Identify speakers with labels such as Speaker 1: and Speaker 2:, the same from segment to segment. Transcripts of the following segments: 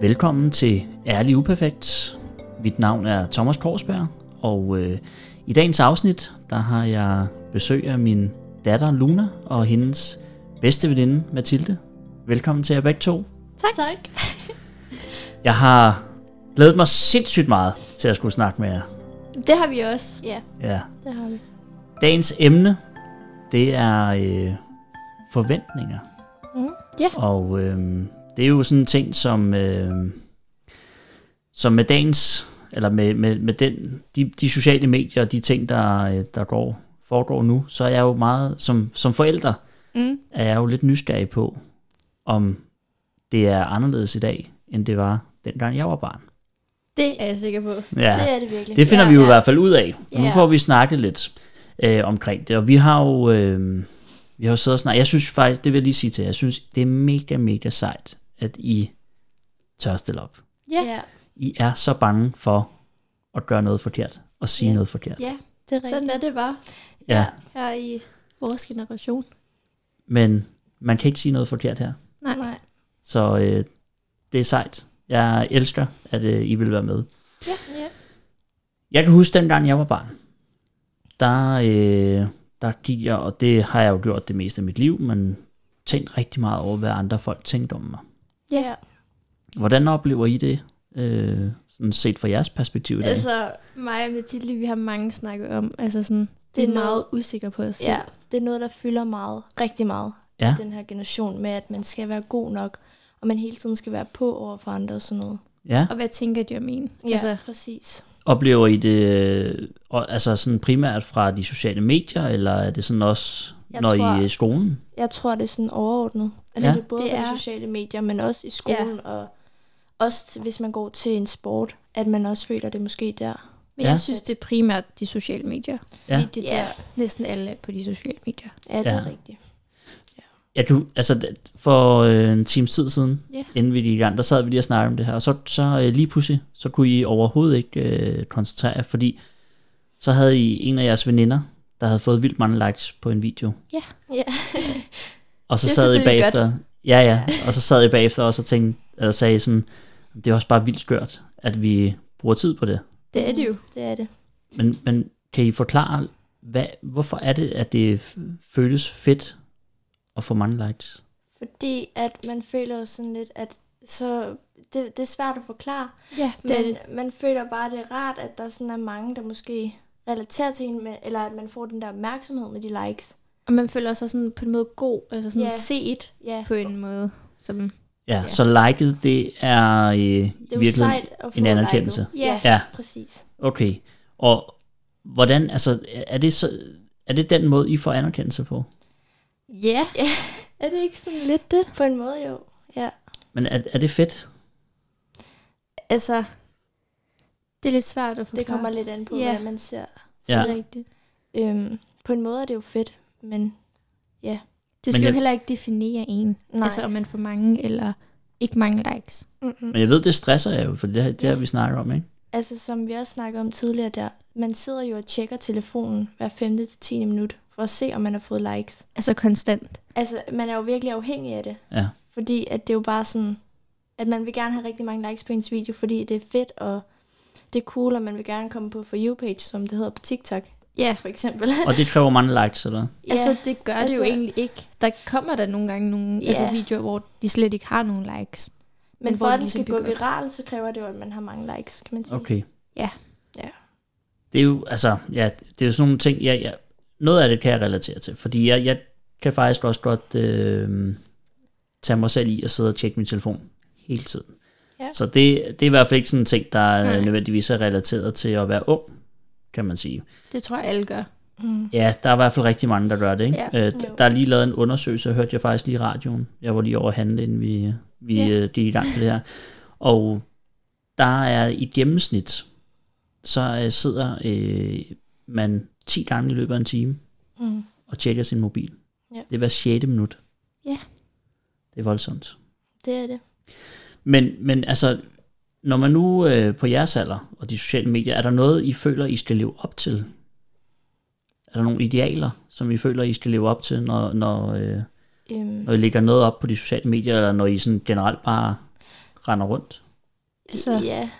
Speaker 1: Velkommen til Ærlig Uperfekt. Mit navn er Thomas Korsberg, og øh, i dagens afsnit, der har jeg besøg af min datter Luna og hendes bedste veninde Mathilde. Velkommen til jer begge to.
Speaker 2: Tak. tak.
Speaker 1: Jeg har glædet mig sindssygt meget til at skulle snakke med jer.
Speaker 2: Det har vi også. Ja,
Speaker 1: Ja.
Speaker 2: det har vi.
Speaker 1: Dagens emne, det er øh, forventninger.
Speaker 2: Mm. Ja.
Speaker 1: Og øh, det er jo sådan en ting, som, øh, som med dagens, eller med, med, med den, de, de sociale medier og de ting, der, øh, der går, foregår nu, så er jeg jo meget, som, som forælder,
Speaker 2: Mm.
Speaker 1: er jeg jo lidt nysgerrig på, om det er anderledes i dag, end det var dengang jeg var barn.
Speaker 2: Det er jeg sikker på. Ja.
Speaker 1: Ja.
Speaker 2: Det er det virkelig.
Speaker 1: Det finder
Speaker 2: ja,
Speaker 1: vi jo
Speaker 2: ja.
Speaker 1: i hvert fald ud af. Nu
Speaker 2: Ja.
Speaker 1: får vi snakket lidt øh, omkring det, og vi har jo øh, vi har jo siddet og snakket. Jeg synes faktisk, det vil jeg lige sige til jer, jeg synes, det er mega, mega sejt, at I tør at stille op.
Speaker 2: Ja.
Speaker 3: Ja,
Speaker 1: I er så bange for at gøre noget forkert, og sige
Speaker 3: Ja.
Speaker 1: noget forkert.
Speaker 2: ja,
Speaker 3: det er rigtigt.
Speaker 2: sådan er det bare
Speaker 1: Ja.
Speaker 2: her i vores generation.
Speaker 1: Men man kan ikke sige noget forkert her,
Speaker 2: Nej, nej.
Speaker 1: så øh, det er sejt. Jeg elsker, at øh, I vil være med.
Speaker 2: Ja, ja.
Speaker 1: Jeg kan huske, dengang jeg var barn, der, øh, der gik jeg, og det har jeg jo gjort det meste af mit liv, men tænkt rigtig meget over, hvad andre folk tænkte om mig.
Speaker 2: ja.
Speaker 1: Hvordan oplever I det, øh, sådan set fra jeres perspektiv i dag? Altså,
Speaker 2: Altså, mig og Mathilde, vi har mange snakket om, altså sådan, det er
Speaker 3: er noget-
Speaker 2: meget usikre på os selv.
Speaker 3: ja, det er noget, der fylder meget, rigtig meget
Speaker 1: Ja.
Speaker 3: i den her generation med, at man skal være god nok, og man hele tiden skal være på over for andre og sådan noget.
Speaker 1: ja,
Speaker 2: Og hvad tænker de om en?
Speaker 3: Ja,
Speaker 2: Altså,
Speaker 3: altså, præcis.
Speaker 1: oplever I det øh, og- altså sådan primært fra de sociale medier, eller er det sådan også, jeg
Speaker 3: Jeg
Speaker 1: når tror... I
Speaker 3: tror-
Speaker 1: er i skolen?
Speaker 3: Jeg tror, det er sådan overordnet. Altså,
Speaker 1: Ja.
Speaker 3: ja. det er både
Speaker 2: Det
Speaker 3: det er...
Speaker 2: er-
Speaker 3: på de sociale medier, men også i skolen, ja. og også til- hvis man går til en sport, at man også føler det måske der.
Speaker 2: men
Speaker 1: Ja.
Speaker 2: jeg synes, det er primært de sociale medier.
Speaker 1: Ja.
Speaker 2: Fordi det er
Speaker 3: Ja.
Speaker 2: der, næsten alle er på de sociale medier.
Speaker 3: Ja, det ja. er
Speaker 1: Ja.
Speaker 3: rigtigt.
Speaker 1: Jeg kan, hu- altså, d- for øh, en times tid siden,
Speaker 2: Ja.
Speaker 1: inden vi gik i gang, der sad vi lige og snakkede om det her, og så, så øh, lige pludselig, så kunne I overhovedet ikke øh, koncentrere jer, fordi så havde I en af jeres veninder, der havde fået vildt mange likes på en video.
Speaker 2: Ja.
Speaker 3: Ja.
Speaker 1: og så
Speaker 2: Det er
Speaker 1: sad I
Speaker 2: selvfølgelig
Speaker 1: bagefter, ja ja, og så sad I bagefter og så tænkte, eller sagde I sådan, det er også bare vildt skørt, at vi bruger tid på det.
Speaker 2: Det er det jo.
Speaker 3: Det er det.
Speaker 1: Men, men kan I forklare, hvad, hvorfor er det, at det f- føles fedt at få mange likes?
Speaker 3: Fordi at man føler jo sådan lidt, at så det, det er svært at forklare,
Speaker 2: Ja, det er det.
Speaker 3: Men man føler bare, at det er rart, at der sådan er mange, der måske relaterer til en, men- eller at man får den der opmærksomhed med de likes.
Speaker 2: Og man føler sig sådan på en måde god, altså sådan
Speaker 3: Ja.
Speaker 2: set
Speaker 3: Ja,
Speaker 2: på en måde, som
Speaker 1: Ja,
Speaker 2: Ja.
Speaker 1: så liket, det er øh, i
Speaker 3: det er jo
Speaker 1: virkeligheden
Speaker 3: sejt at få
Speaker 1: en anerkendelse.
Speaker 3: liket.
Speaker 2: Ja.
Speaker 3: Ja,
Speaker 1: Ja,
Speaker 3: præcis.
Speaker 1: okay. Og hvordan, altså, er det, så, er det den måde, I får anerkendelse på?
Speaker 2: Ja.
Speaker 3: Ja.
Speaker 2: Er det ikke sådan lidt det?
Speaker 3: På en måde jo. Ja,
Speaker 1: Men er, er det fedt?
Speaker 2: Altså, det er lidt svært at forklare.
Speaker 3: det kommer lidt an på,
Speaker 2: Ja.
Speaker 3: ja. hvad man ser.
Speaker 1: Ja,
Speaker 2: Det er rigtigt.
Speaker 3: Øhm, på en måde er det jo fedt, men
Speaker 2: Det
Speaker 1: jeg-
Speaker 2: skal jeg... jo heller ikke definere en.
Speaker 3: nej.
Speaker 2: Altså, om man får mange eller ikke mange likes.
Speaker 3: mm-mm.
Speaker 1: men jeg ved, det stresser jeg jo, for det, har- det har vi snakket om, ikke?
Speaker 3: altså som vi også snakkede om tidligere der, man sidder jo og tjekker telefonen hver 5. til 10. minut, for at se, om man har fået likes.
Speaker 2: Altså konstant.
Speaker 3: Altså, man er jo virkelig afhængig af det.
Speaker 1: Ja.
Speaker 3: Fordi at det er jo bare sådan, at man vil gerne have rigtig mange likes på ens video, fordi det er fedt, og det er cool, og man vil gerne komme på For You-page, som det hedder på TikTok,
Speaker 2: Ja,
Speaker 3: for eksempel.
Speaker 1: Og det kræver mange likes, eller?
Speaker 3: ja,
Speaker 2: altså det gør det jo
Speaker 3: altså-
Speaker 2: egentlig ikke. Der kommer der nogle gange nogle
Speaker 3: Ja.
Speaker 2: altså, videoer, hvor de slet ikke har nogen likes.
Speaker 3: men for
Speaker 2: hvor
Speaker 3: at
Speaker 2: de
Speaker 3: den skal
Speaker 2: ligesom
Speaker 3: gå
Speaker 2: bygger op.
Speaker 3: viral, så kræver det jo, at man har mange likes, kan man sige.
Speaker 1: Okay.
Speaker 2: Ja.
Speaker 3: Ja.
Speaker 1: Det er jo, altså, ja, det er jo sådan nogle ting, jeg, jeg, noget af det kan jeg relatere til, fordi jeg, jeg kan faktisk også godt øh, tage mig selv i at sidde og tjekke min telefon hele tiden.
Speaker 3: Ja.
Speaker 1: Så det, det er i hvert fald ikke sådan en ting, der
Speaker 2: Nej.
Speaker 1: er nødvendigvis er relateret til at være ung, kan man sige.
Speaker 2: Det tror jeg alle gør.
Speaker 3: Mm.
Speaker 1: Ja, der er i hvert fald rigtig mange, der gør det. Ikke? Ja. Øh,
Speaker 3: Jo.
Speaker 1: d- der er lige lavet en undersøgelse, hørte jeg faktisk lige i radioen. Jeg var lige over at handle, inden vi, vi
Speaker 2: Ja.
Speaker 1: ja. gik i gang med det her. Og der er i gennemsnit, så øh, sidder øh, man 10 gange i løbet af en time
Speaker 3: Mm.
Speaker 1: og tjekker sin mobil.
Speaker 3: Ja.
Speaker 1: Det er hver 6. minut.
Speaker 2: Ja.
Speaker 1: Det er voldsomt.
Speaker 3: Det er det.
Speaker 1: Men, men altså, når man nu øh, på jeres alder og de sociale medier, er der noget, I føler, I skal leve op til? Er der nogle idealer, som I føler, I skal leve op til, når, når, øh,
Speaker 3: Øhm,
Speaker 1: når I lægger noget op på de sociale medier, eller når I sådan generelt bare render rundt?
Speaker 2: Altså,
Speaker 3: Ja,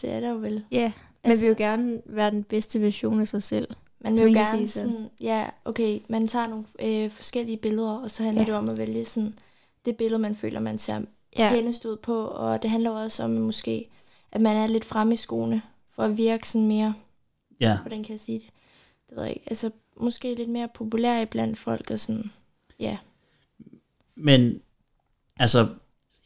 Speaker 3: det er der jo vel. Altså,
Speaker 2: ja. altså- Man vil jo gerne være den bedste version af sig selv.
Speaker 3: Man
Speaker 2: Så
Speaker 3: vil jo
Speaker 2: man kan
Speaker 3: gerne
Speaker 2: sige sådan.
Speaker 3: sådan, ja, okay, man tager nogle øh, forskellige billeder, og så handler
Speaker 2: Ja.
Speaker 3: det om at vælge sådan, det billede, man føler, man ser
Speaker 2: Ja,
Speaker 3: ja. pænest ud på, og det handler også om måske, at man er lidt fremme i skoene, for at virke sådan mere,
Speaker 1: Ja,
Speaker 3: hvordan kan jeg sige det? Det ved jeg ikke, altså måske lidt mere populær blandt folk, og sådan,
Speaker 1: men altså,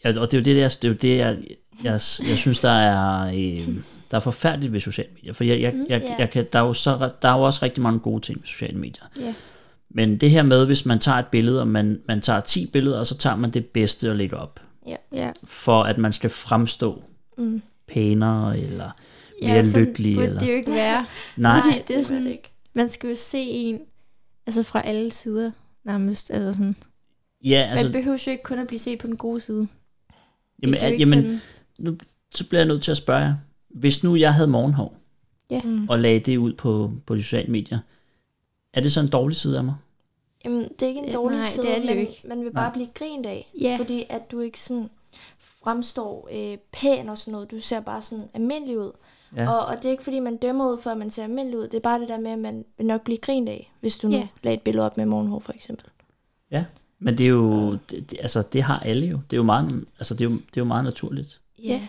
Speaker 1: ja, og det er jo det, der, det, er jo det jeg, jeg, jeg synes, der er, øh, der er forfærdeligt ved sociale medier. For jeg, jeg,
Speaker 2: Mm,
Speaker 1: jeg,
Speaker 3: ja.
Speaker 1: jeg kan, der, er jo så, der er jo også rigtig mange gode ting ved sociale medier.
Speaker 2: Ja.
Speaker 1: Men det her med, hvis man tager et billede, og man, man tager 10 billeder, og så tager man det bedste og lægger op,
Speaker 2: ja.
Speaker 1: for at man skal fremstå
Speaker 3: mm.
Speaker 1: pænere, eller
Speaker 2: ja
Speaker 1: Mere
Speaker 2: sådan
Speaker 1: lykkelig,
Speaker 2: burde
Speaker 1: eller-
Speaker 2: det jo ikke være.
Speaker 1: nej,
Speaker 2: Fordi det
Speaker 3: det
Speaker 2: er
Speaker 3: er
Speaker 2: sådan-
Speaker 3: det ikke.
Speaker 2: Man skal jo se en altså fra alle sider nærmest. Altså sådan.
Speaker 1: ja,
Speaker 2: Altså, man
Speaker 1: altså,
Speaker 2: behøver jo ikke kun at blive set på den gode side.
Speaker 1: jamen,
Speaker 2: det er jo
Speaker 1: at-
Speaker 2: ikke
Speaker 1: jamen
Speaker 2: sådan,
Speaker 1: så bliver jeg nødt til at spørge jer, hvis nu jeg havde morgenhår,
Speaker 3: Mm.
Speaker 1: og lagde det ud på, på de sociale medier, er det så en dårlig side af mig?
Speaker 3: Jamen, det er ikke en
Speaker 2: Øh,
Speaker 3: dårlig
Speaker 2: nej,
Speaker 3: side,
Speaker 2: det er det jo
Speaker 3: men
Speaker 2: ikke.
Speaker 3: man vil
Speaker 1: Nej.
Speaker 3: bare blive grint af,
Speaker 2: ja,
Speaker 3: fordi at du ikke sådan fremstår øh, pæn og sådan noget. Du ser bare sådan almindelig ud.
Speaker 1: Ja.
Speaker 3: Og, og det er ikke fordi, man dømmer ud for, at man ser almindelig ud. Det er bare det der med, at man vil nok blive grint af, hvis du
Speaker 2: Ja.
Speaker 3: nu lagde et billede op med morgenhår, for eksempel.
Speaker 1: Men det er jo, det, det, altså det har alle jo. Det er jo meget, altså det er jo, det er jo meget naturligt.
Speaker 2: Ja.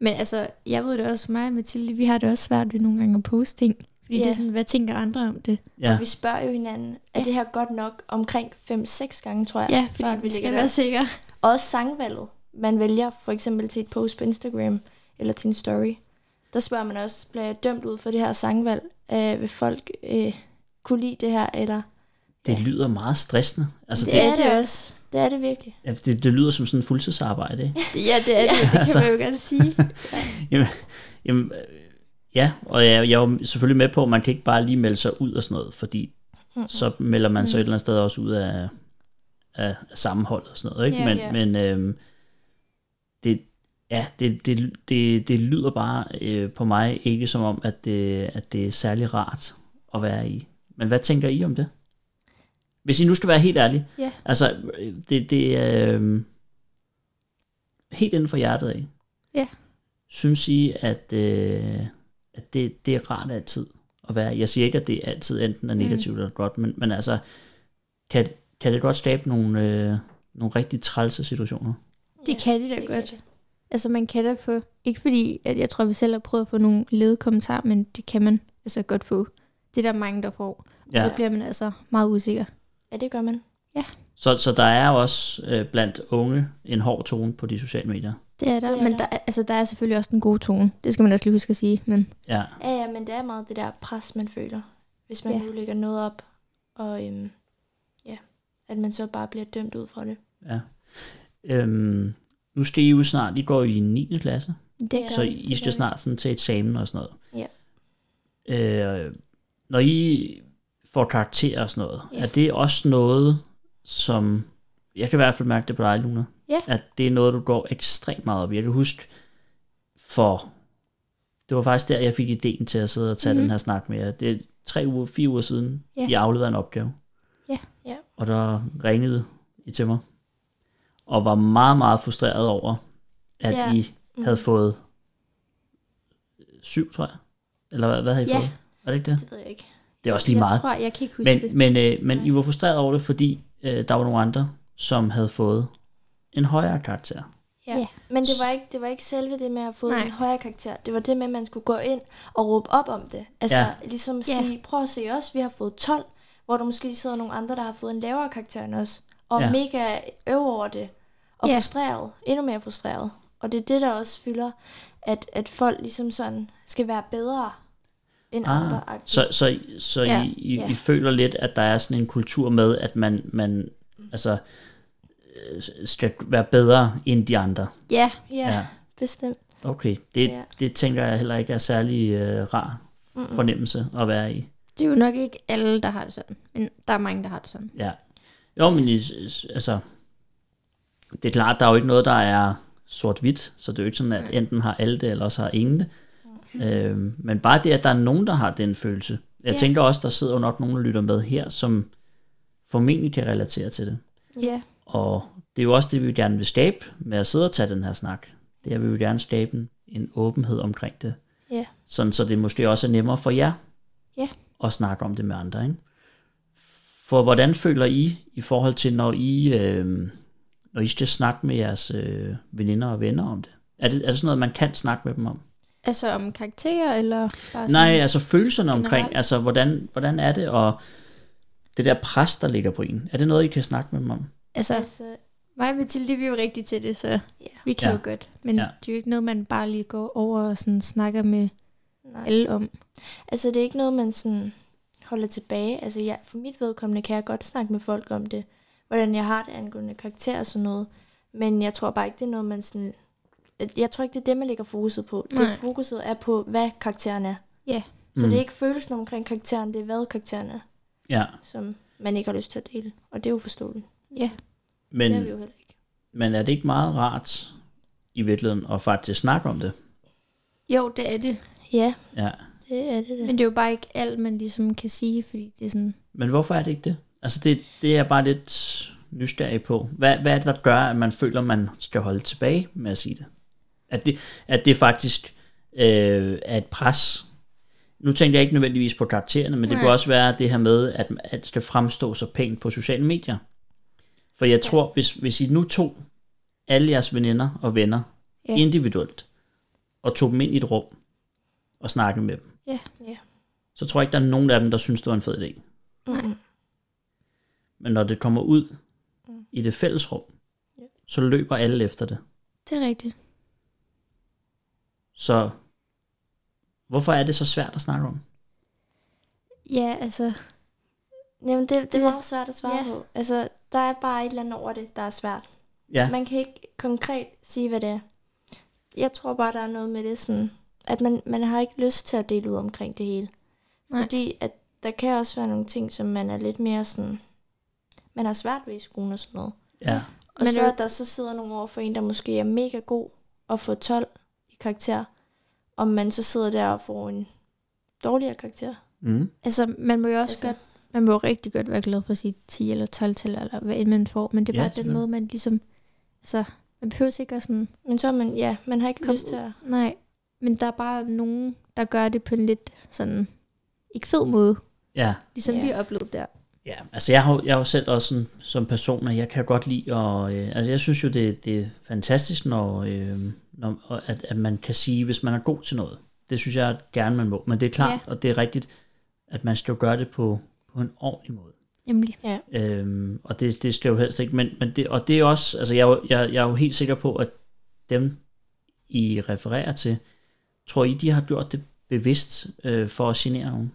Speaker 2: men altså, jeg ved det også, mig og Mathilde, vi har det også svært ved nogle gange at poste ting. Fordi det
Speaker 3: Ja.
Speaker 2: er sådan, hvad tænker andre om det?
Speaker 1: Ja,
Speaker 3: Og vi spørger jo hinanden, er
Speaker 2: Ja.
Speaker 3: det her godt nok omkring 5-6 gange, tror jeg.
Speaker 2: Ja, fordi
Speaker 3: før
Speaker 2: vi skal
Speaker 3: lægger det
Speaker 2: være
Speaker 3: op.
Speaker 2: sikre.
Speaker 3: Og også sangvalget, man vælger for eksempel til et post på Instagram eller til en story. Der spørger man også, bliver jeg dømt ud for det her sangvalg? Øh, vil folk øh, kunne lide det her? Eller?
Speaker 1: det lyder meget stressende. Altså
Speaker 3: Det,
Speaker 1: det,
Speaker 3: er det også. Det er det virkelig.
Speaker 1: ja, det, det lyder som sådan en fuldtidsarbejde. Ikke?
Speaker 2: Ja, det er det. Det kan
Speaker 1: Altså.
Speaker 2: man jo godt sige.
Speaker 1: Jamen, øh, ja, og jeg, jeg er jo selvfølgelig med på, at man kan ikke bare lige melde sig ud og sådan noget, fordi
Speaker 3: Mm-mm. Mm.
Speaker 1: så melder man sig et eller andet sted også ud af, af, af sammenholdet og sådan noget. Ikke?
Speaker 2: Ja,
Speaker 1: men
Speaker 3: ja.
Speaker 1: men øhm, det, ja, det, det, det, det lyder bare øh, på mig ikke som om, at det, at det er særlig rart at være i. Men hvad tænker I om det? Hvis I nu skal være helt ærlige.
Speaker 2: Ja.
Speaker 1: Altså, øh, det, det er øh, helt inden for hjertet af.
Speaker 2: Ja.
Speaker 1: Synes I, at, øh, at det, det er rart altid at være i? Jeg siger ikke, at det altid enten er negativt mm. eller godt, men, men altså, kan, kan det godt skabe nogle, øh, nogle rigtig trælse situationer?
Speaker 2: Det
Speaker 3: Ja,
Speaker 2: kan de da
Speaker 3: det
Speaker 2: godt.
Speaker 3: det.
Speaker 2: Altså man kan da få, ikke fordi, at jeg tror, at vi selv har prøvet at få nogle lede kommentarer, men det kan man altså godt få. Det er der mange, der får. Ja. Så bliver man altså meget usikker.
Speaker 3: Ja, det gør man.
Speaker 1: Så, så der er også øh, blandt unge en hård tone på de sociale medier.
Speaker 2: Det er der,
Speaker 3: Det
Speaker 2: det
Speaker 3: er
Speaker 2: er men
Speaker 3: der.
Speaker 2: der, er- altså, der er selvfølgelig også den gode tone. Det skal man også lige huske at sige. Men
Speaker 1: Ja,
Speaker 3: Ja, ja, men det er meget det der pres, man føler, hvis man
Speaker 2: Ja.
Speaker 3: ja. nu lægger noget op, og øhm, ja, at man så bare bliver dømt ud fra det.
Speaker 1: ja. Øhm, nu skal I jo snart, I går i 9. klasse,
Speaker 2: det
Speaker 3: Ja.
Speaker 1: så
Speaker 2: gør
Speaker 1: I
Speaker 3: det gør
Speaker 1: skal
Speaker 3: vi.
Speaker 1: snart sådan til eksamen og sådan noget. Ja. Øh, når I får karakterer og sådan noget,
Speaker 2: Ja.
Speaker 1: er det også noget, som... Jeg kan i hvert fald mærke det på dig, Luna.
Speaker 2: Ja.
Speaker 1: At det er noget, du går ekstremt meget op i. Jeg kan huske, for... Det var faktisk der, jeg fik ideen til at sidde og tage mm-hmm.
Speaker 2: Mhm.
Speaker 1: den her snak med jer. Det er tre uger, fire uger siden,
Speaker 2: Ja.
Speaker 1: I afleverede en opgave.
Speaker 2: Ja.
Speaker 3: Ja.
Speaker 1: Og der ringede I til mig, og var meget, meget frustreret over, at
Speaker 3: Ja.
Speaker 1: I Mm.
Speaker 3: Mm,
Speaker 1: havde fået syv, tror jeg. Eller hvad, hvad havde I
Speaker 2: Ja.
Speaker 1: fået? Var det ikke det?
Speaker 3: Det ved jeg ikke.
Speaker 1: Det er også lige meget.
Speaker 2: Jeg tror, jeg kan ikke huske men, det.
Speaker 1: Men, men, øh, men
Speaker 3: Nej.
Speaker 1: I var frustreret over det, fordi øh, der var nogle andre, som havde fået en højere karakter.
Speaker 3: Ja.
Speaker 2: Ja.
Speaker 3: ja. Men det var, ikke, det var ikke selve det med at få
Speaker 2: Nej.
Speaker 3: en højere karakter. Det var det med, at man skulle gå ind og råbe op om det. Altså
Speaker 1: Ja.
Speaker 3: ja. ligesom
Speaker 2: Ja.
Speaker 3: sige, prøv at se os, vi har fået 12, hvor der måske sidder nogle andre, der har fået en lavere karakter end os. Og
Speaker 1: Ja.
Speaker 3: ja. mega øv over det. Og
Speaker 2: Ja.
Speaker 3: ja. frustreret. Endnu mere frustreret. Og det er det, der også fylder, at, at folk ligesom sådan skal være bedre end
Speaker 1: Ah,
Speaker 3: ah, andre.
Speaker 1: Så, så, så
Speaker 2: Ja.
Speaker 1: I, I,
Speaker 3: Ja.
Speaker 1: I føler lidt, at der er sådan en kultur med, at man, man
Speaker 2: Mm.
Speaker 1: altså, øh, skal være bedre end de andre.
Speaker 2: Ja,
Speaker 3: Ja, ja, bestemt.
Speaker 1: Okay, det,
Speaker 3: Ja.
Speaker 1: det tænker jeg heller ikke er særlig øh, rar
Speaker 2: Mm.
Speaker 3: Mm-mm.
Speaker 1: fornemmelse at være i.
Speaker 2: det er jo nok ikke alle, der har det sådan. Men der er mange, der har det sådan.
Speaker 1: Ja. Jo, men I- altså, det er klart, der er jo ikke noget, der er sort-hvidt, så det er jo ikke sådan, at enten har alle det, eller også har ingen det. Øhm, men bare det, at der er nogen, der har den følelse. Jeg
Speaker 2: Ja.
Speaker 1: tænker også, der sidder jo nok nogen, der lytter med her, som formentlig kan relatere til det.
Speaker 2: Ja,
Speaker 1: Og det er jo også det, vi gerne vil skabe med at sidde og tage den her snak. Det er, at vi vil gerne skabe en en åbenhed omkring det.
Speaker 3: Ja.
Speaker 1: Sådan, så det måske også er nemmere for jer
Speaker 2: Ja.
Speaker 1: at snakke om det med andre. Ikke? For hvordan føler I i forhold til, når I, øh, når I skal snakke med jeres øh, veninder og venner om det? Er, det? er det sådan noget, man kan snakke med dem om?
Speaker 2: Altså om karakterer, eller bare sådan?
Speaker 1: Nej, altså følelserne omkring,
Speaker 2: generelt?
Speaker 1: altså hvordan, hvordan er det, og det der pres, der ligger på en, er det noget, I kan snakke med dem om?
Speaker 2: Altså,
Speaker 3: Altså,
Speaker 2: mig og Mathilde, vi er jo rigtig til det, så
Speaker 3: Ja.
Speaker 2: vi kan
Speaker 1: Ja.
Speaker 2: jo godt. Men
Speaker 1: Ja.
Speaker 2: det er jo ikke noget, man bare lige går over og sådan snakker med
Speaker 3: nej.
Speaker 2: alle om.
Speaker 3: Altså, det er ikke noget, man sådan holder tilbage. Altså, jeg, for mit vedkommende kan jeg godt snakke med folk om det, hvordan jeg har det angående karakter og sådan noget. Men jeg tror bare ikke, det er noget, man sådan... at- Jeg tror ikke, det er det, man lægger fokuset på. Nej.
Speaker 2: Nej.
Speaker 3: Det fokuset er på, hvad karakteren er.
Speaker 2: Ja.
Speaker 3: Så mm.
Speaker 1: Mm.
Speaker 3: det er ikke følelsen omkring karakteren, det er, hvad karakteren er,
Speaker 1: Ja,
Speaker 3: som man ikke har lyst til at dele. Og det er jo forståeligt.
Speaker 2: Ja,
Speaker 1: men,
Speaker 3: Det er vi jo heller ikke.
Speaker 1: men er det ikke meget rart i virkeligheden at faktisk snakke om det?
Speaker 2: jo, det er det.
Speaker 3: Ja,
Speaker 1: Ja.
Speaker 3: det er det.
Speaker 2: Men det er jo bare ikke alt, man ligesom kan sige, fordi det er sådan...
Speaker 1: Men hvorfor er det ikke det? Altså det, det er jeg bare lidt nysgerrig på. Hvad, hvad er det, der gør, at man føler, man skal holde tilbage med at sige det? At det, at det faktisk øh, er et pres. Nu tænker jeg ikke nødvendigvis på karaktererne, men det
Speaker 2: Nej.
Speaker 1: kunne også være det her med, at at det skal fremstå så pænt på sociale medier. For jeg tror, hvis, hvis I nu tog alle jeres veninder og venner
Speaker 2: Ja.
Speaker 1: ja. individuelt, og tog dem ind i et rum og snakkede med dem,
Speaker 2: Ja.
Speaker 3: Ja.
Speaker 1: så tror jeg ikke, der er nogen af dem, der synes, det var en fed idé.
Speaker 3: Nej.
Speaker 1: Men når det kommer ud
Speaker 3: Mm.
Speaker 1: i det fælles rum,
Speaker 3: Ja.
Speaker 1: så løber alle efter det.
Speaker 2: Det er rigtigt.
Speaker 1: Så hvorfor er det så svært at snakke om?
Speaker 2: Ja, altså...
Speaker 3: Jamen, det, det er
Speaker 2: Ja.
Speaker 3: meget svært at svare
Speaker 2: Ja.
Speaker 3: på. Altså, der er bare et eller andet over det, der er svært.
Speaker 1: Ja,
Speaker 3: Man kan ikke konkret sige, hvad det er. Jeg tror bare, der er noget med det sådan, at man, man har ikke lyst til at dele ud omkring det hele.
Speaker 2: Nej.
Speaker 3: Fordi at der kan også være nogle ting, som man er lidt mere sådan, man har svært ved i skolen og sådan noget.
Speaker 1: ja,
Speaker 3: Og
Speaker 2: Men
Speaker 3: Men så
Speaker 2: det-
Speaker 3: at der så sidder nogen over for en, der måske er mega god og får 12 i karakter, og man så sidder der og får en dårligere karakter.
Speaker 1: mm.
Speaker 2: Altså, man må jo også altså.
Speaker 3: Altså.
Speaker 2: godt... Man må jo rigtig godt være glad for sit 10 eller 12 tal eller hvad end man får, men det er
Speaker 1: Ja,
Speaker 2: bare den
Speaker 1: selvfølgelig.
Speaker 2: måde, man ligesom... Altså, man behøver ikke at sådan...
Speaker 3: Men så er man, ja, man har ikke
Speaker 2: Kom
Speaker 3: lyst til at...
Speaker 2: Nej, men der er bare nogen, der gør det på en lidt sådan... Ikke fed måde,
Speaker 1: ja.
Speaker 2: ligesom
Speaker 3: Ja.
Speaker 2: vi oplevede der.
Speaker 1: Ja, altså jeg har, jo- jeg har jo selv også sådan, som person, at jeg kan godt lide, og øh, altså jeg synes jo, det, det er fantastisk, når, øh, når og at, at man kan sige, hvis man er god til noget. Det synes jeg gerne, man må. Men det er klart, ja. og det er rigtigt, at man skal jo gøre det på, på en ordentlig måde.
Speaker 2: Nemlig.
Speaker 1: Øhm, og det, det skal jo helst ikke. Men, men det, og det er også, altså jeg, er jo- jeg, jeg er jo helt sikker på, at dem, I refererer til, tror I, de har gjort det bevidst øh, for at genere nogen?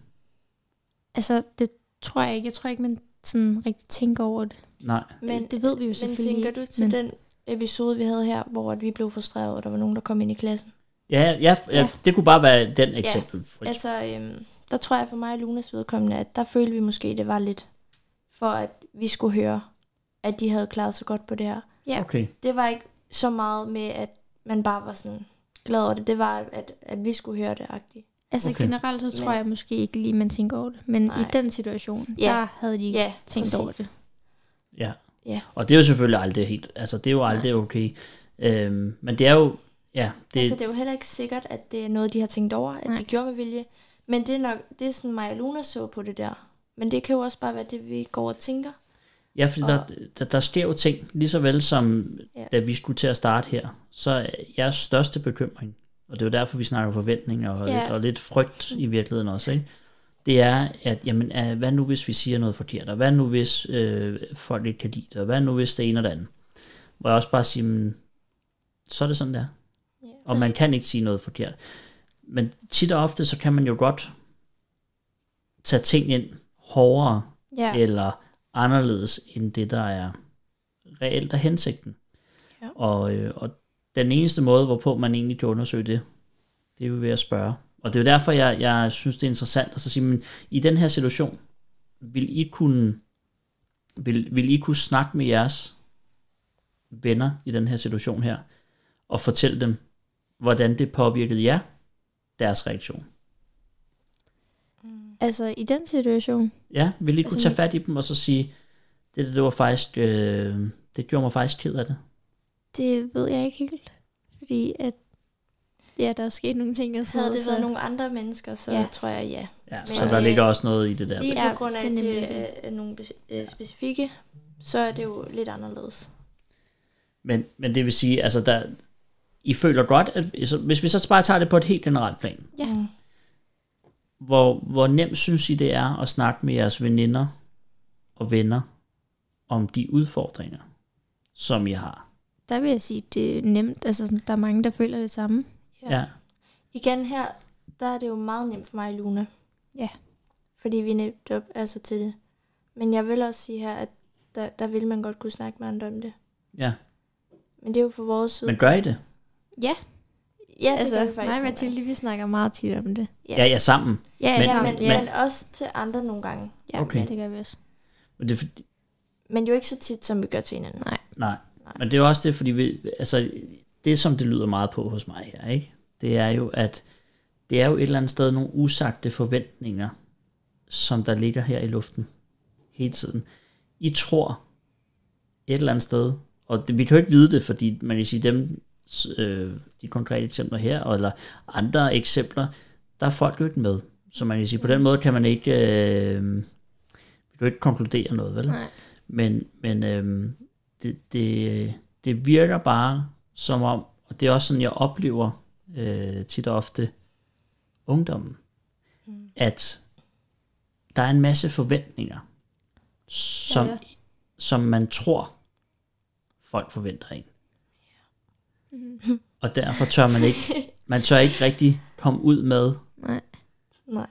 Speaker 2: Altså, det tror jeg ikke. Jeg tror ikke, man sådan rigtig tænker over det.
Speaker 1: Nej.
Speaker 2: Men, det ved vi jo
Speaker 3: Men
Speaker 2: selvfølgelig
Speaker 3: tænker
Speaker 2: ikke,
Speaker 3: du til
Speaker 2: men,
Speaker 3: den episode, vi havde her, hvor at vi blev frustreret, og der var nogen, der kom ind i klassen?
Speaker 1: Ja, ja, ja,
Speaker 3: Ja.
Speaker 1: det kunne bare være den eksempel. Ja, altså,
Speaker 3: Altså, øhm, der tror jeg for mig og Lunas vedkommende, at der følte vi måske, det var lidt for, at vi skulle høre, at de havde klaret sig godt på det her.
Speaker 2: ja.
Speaker 1: okay.
Speaker 3: Det var ikke så meget med, at man bare var sådan glad over det. Det var, at, at vi skulle høre det, agtigt.
Speaker 2: Altså
Speaker 1: Okay.
Speaker 2: okay. generelt, så tror
Speaker 3: Men-
Speaker 2: jeg måske ikke lige, man tænker over det. Men Nej. i
Speaker 3: Nej.
Speaker 2: den situation,
Speaker 3: Ja.
Speaker 2: der havde de ikke
Speaker 3: Ja,
Speaker 2: tænkt
Speaker 3: præcis.
Speaker 2: over det.
Speaker 1: Ja.
Speaker 3: Ja.
Speaker 1: Og det er jo selvfølgelig aldrig helt, altså det er jo aldrig okay. Øhm, men det er jo, ja,
Speaker 3: Det...
Speaker 1: det,
Speaker 3: Altså, det er jo heller ikke sikkert, at det er noget, de har tænkt over, at Nej.
Speaker 2: Nej.
Speaker 3: de gjorde med vilje. Men det er nok, det er sådan, mig og Luna så på det der. Men det kan jo også bare være det, vi går og tænker.
Speaker 1: Ja, fordi der, der, der sker jo ting, lige så vel som ja.
Speaker 3: Ja.
Speaker 1: da vi skulle til at starte her, så er jeres største bekymring, og det er jo derfor, vi snakker forventninger og, ja.
Speaker 3: Ja.
Speaker 1: lidt, og lidt frygt i virkeligheden også, ikke? det er, at jamen, ah, hvad nu hvis vi siger noget forkert, og hvad nu hvis øh, folk ikke kan lide det, og hvad nu hvis det ene og det andet. Hvor jeg også bare siger, men, så er det sådan, der.
Speaker 3: Ja.
Speaker 1: Og man kan ikke sige noget forkert. Men tit og ofte, så kan man jo godt tage ting ind hårdere,
Speaker 2: Ja.
Speaker 1: ja. eller anderledes end det, der er reelt af hensigten.
Speaker 3: Ja.
Speaker 1: Og, øh, og den eneste måde, hvorpå man egentlig kan undersøge det, det er jo ved at spørge. Og det er jo derfor, jeg, jeg synes, det er interessant at så sige, men i den her situation, vil I kunne, vil, vil I kunne snakke med jeres venner i den her situation her, og fortælle dem, hvordan det påvirkede jer, deres reaktion?
Speaker 3: Mm.
Speaker 2: Altså i den situation,
Speaker 1: Ja, vil I kunne
Speaker 2: Altså,
Speaker 1: tage
Speaker 2: men-
Speaker 1: fat i dem og så sige, det, der, det var faktisk, øh, det gjorde mig faktisk ked af det.
Speaker 2: det ved jeg ikke helt. Fordi at Ja, der er sket nogle ting og sådan
Speaker 3: Havde det
Speaker 2: noget,
Speaker 3: været
Speaker 2: så-
Speaker 3: nogle andre mennesker, så
Speaker 2: Ja.
Speaker 3: tror jeg ja.
Speaker 1: Ja,
Speaker 3: Men,
Speaker 1: så der
Speaker 3: øh,
Speaker 1: ligger også noget i det der.
Speaker 3: Lige
Speaker 2: Ja,
Speaker 3: på grund af,
Speaker 2: det er
Speaker 3: at
Speaker 2: nemlig
Speaker 3: det er nogle bes- øh, specifikke, så er det jo lidt anderledes.
Speaker 1: Men, men det vil sige, altså der, I føler godt, at så- hvis vi så bare tager det på et helt generelt plan,
Speaker 2: Ja.
Speaker 3: Mm.
Speaker 1: hvor, hvor nemt synes I det er at snakke med jeres veninder og venner om de udfordringer, som I har?
Speaker 2: Der vil jeg sige, det er nemt. Altså, sådan, der er mange, der føler det samme.
Speaker 3: Ja.
Speaker 1: Ja.
Speaker 3: Igen her, der er det jo meget nemt for mig, Luna.
Speaker 2: Ja.
Speaker 3: Fordi vi nemt op altså til det. Men jeg vil også sige her, at der, der vil man godt kunne snakke med andre om det.
Speaker 1: ja.
Speaker 3: Men det er jo for vores side.
Speaker 1: Men gør I det?
Speaker 3: ja, det
Speaker 2: altså,
Speaker 3: gør vi faktisk
Speaker 2: mig og
Speaker 3: nogle
Speaker 2: Mathilde, vi snakker meget tit om det.
Speaker 3: Ja.
Speaker 1: Ja, ja, sammen.
Speaker 2: Ja,
Speaker 1: Men-
Speaker 3: gange. Ja,
Speaker 2: altså,
Speaker 3: men,
Speaker 1: men-
Speaker 3: ja. men også til andre nogle gange.
Speaker 2: ja,
Speaker 1: Okay.
Speaker 2: ja, det gør vi også.
Speaker 1: Men det, er fordi-
Speaker 3: Men jo ikke så tit, som vi gør til hinanden.
Speaker 1: nej. Men det er jo også det, fordi vi, altså, det, som det lyder meget på hos mig her, ikke? det er jo, at det er jo et eller andet sted nogle usagte forventninger, som der ligger her i luften hele tiden. I tror et eller andet sted, og det, vi kan jo ikke vide det, fordi man kan sige, dem, s- øh, de konkrete eksempler her, og- eller andre eksempler, der er folk jo ikke med. Så man kan sige, på den måde kan man ikke, øh, vi kan jo ikke konkludere noget, vel?
Speaker 2: Nej.
Speaker 1: Men, men øhm, det, det, det virker bare som om, og det er også sådan, jeg oplever øh, tit og ofte ungdommen, mm. at der er en masse forventninger, som,
Speaker 2: Ja.
Speaker 1: som man tror, folk forventer en.
Speaker 2: Mhm.
Speaker 1: Og derfor tør man ikke, man tør ikke rigtig komme ud med,
Speaker 2: Nej.
Speaker 3: Nej.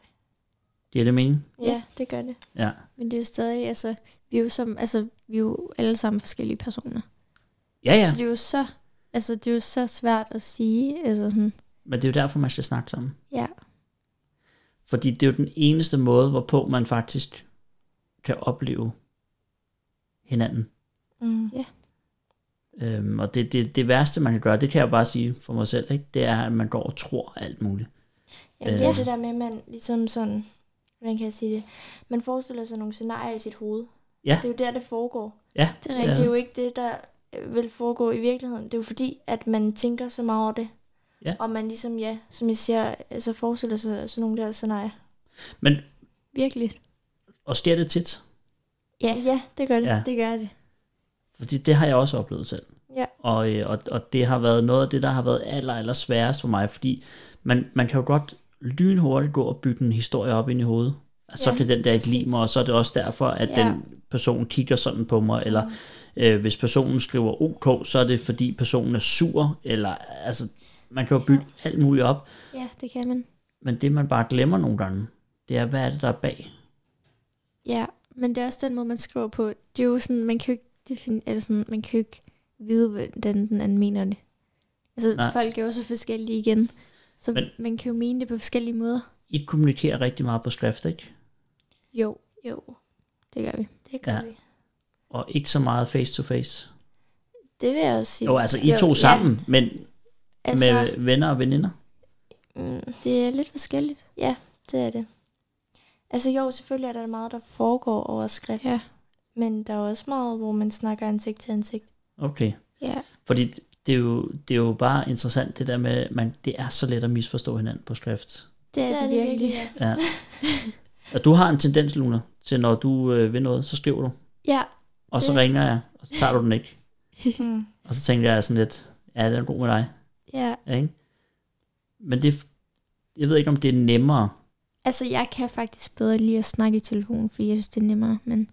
Speaker 1: det er det mening?
Speaker 3: Ja, ja, det gør det.
Speaker 1: Ja,
Speaker 2: Men det er jo stadig, altså, vi er jo, som, altså, vi er jo alle sammen forskellige personer.
Speaker 1: ja, ja
Speaker 2: Så det er jo så, altså, det er jo så svært at sige. Altså sådan,
Speaker 1: men det er jo derfor, man skal snakke sammen.
Speaker 2: ja,
Speaker 1: Fordi det er jo den eneste måde, hvorpå man faktisk kan opleve hinanden.
Speaker 3: Mm.
Speaker 1: Øhm, og det, det, det værste, man kan gøre, det kan jeg bare sige for mig selv, ikke? det er, at man går og tror alt muligt.
Speaker 3: Jamen,
Speaker 1: Øh.
Speaker 3: det er det der med, at man ligesom sådan, hvordan kan jeg sige det, man forestiller sig nogle scenarier i sit hoved.
Speaker 1: Ja.
Speaker 3: Det er jo der, det foregår.
Speaker 1: Ja,
Speaker 2: det er
Speaker 3: Men
Speaker 1: Ja.
Speaker 2: rigtigt.
Speaker 3: det er jo ikke det, der øh, vil foregå i virkeligheden. Det er jo fordi, at man tænker så meget over det.
Speaker 1: Ja.
Speaker 3: Og man ligesom, ja, som jeg siger, altså forestiller sig sådan nogle der scenarier.
Speaker 1: men
Speaker 2: Virkelig.
Speaker 1: og sker det tit?
Speaker 2: Ja.
Speaker 3: ja det gør det.
Speaker 1: Ja,
Speaker 2: Det gør det.
Speaker 1: fordi det har jeg også oplevet selv.
Speaker 3: Ja.
Speaker 1: Og, øh, og, og det har været noget af det, der har været aller, aller sværest for mig, fordi man, man kan jo godt lynhurtigt gå og bygge en historie op ind i hovedet. Og så
Speaker 3: Ja,
Speaker 1: kan den der ikke lide
Speaker 3: præcis.
Speaker 1: mig, og så er det også derfor, at
Speaker 2: Ja.
Speaker 1: den person kigger sådan på mig, eller
Speaker 3: Mm.
Speaker 1: øh, hvis personen skriver OK, så er det fordi personen er sur, eller altså, man kan jo bygge alt muligt op,
Speaker 2: Ja, det kan man.
Speaker 1: men det man bare glemmer nogle gange, det er, hvad er det, der er bag?
Speaker 2: Ja, men det er også den måde, man skriver på. Det er jo sådan, man kan jo ikke, defin- eller sådan, man kan jo ikke vide, hvordan den anden mener det. Altså,
Speaker 1: Nej.
Speaker 2: Nej. folk er jo så forskellige igen. Så
Speaker 1: Men-
Speaker 2: men, man kan jo mene det på forskellige måder.
Speaker 1: I kommunikerer rigtig meget på skrift, ikke?
Speaker 2: Jo,
Speaker 3: Jo,
Speaker 2: det gør vi.
Speaker 3: det gør
Speaker 1: Ja.
Speaker 3: ja. vi.
Speaker 1: Og ikke så meget face-to-face.
Speaker 3: Det vil jeg også sige.
Speaker 1: Jo, altså I to
Speaker 2: Jo, ja.
Speaker 1: sammen, men
Speaker 2: Altså,
Speaker 1: med venner og veninder.
Speaker 3: Mm,
Speaker 2: det er lidt forskelligt.
Speaker 3: det er det. Altså jo, selvfølgelig er der meget, der foregår over skrift.
Speaker 2: Ja.
Speaker 3: Men der er også meget, hvor man snakker ansigt til ansigt.
Speaker 1: Okay.
Speaker 2: Ja,
Speaker 1: Fordi det er, jo, det er jo bare interessant det der med, man, det er så let at misforstå hinanden på skrift.
Speaker 2: det er det, det virkelig.
Speaker 3: ja.
Speaker 1: Ja. Og du har en tendens, Luna, til når du øh, vil noget, så skriver du,
Speaker 2: Ja,
Speaker 1: og så
Speaker 2: Det-
Speaker 1: ringer jeg, og så tager du den ikke.
Speaker 3: Mm.
Speaker 1: Og så tænkte jeg sådan lidt, ja, den er god med dig.
Speaker 2: ja.
Speaker 1: Ja, ikke? Men det, jeg ved ikke, om det er nemmere.
Speaker 2: Altså, jeg kan faktisk bedre lige at snakke i telefonen, fordi jeg synes, det er nemmere. Men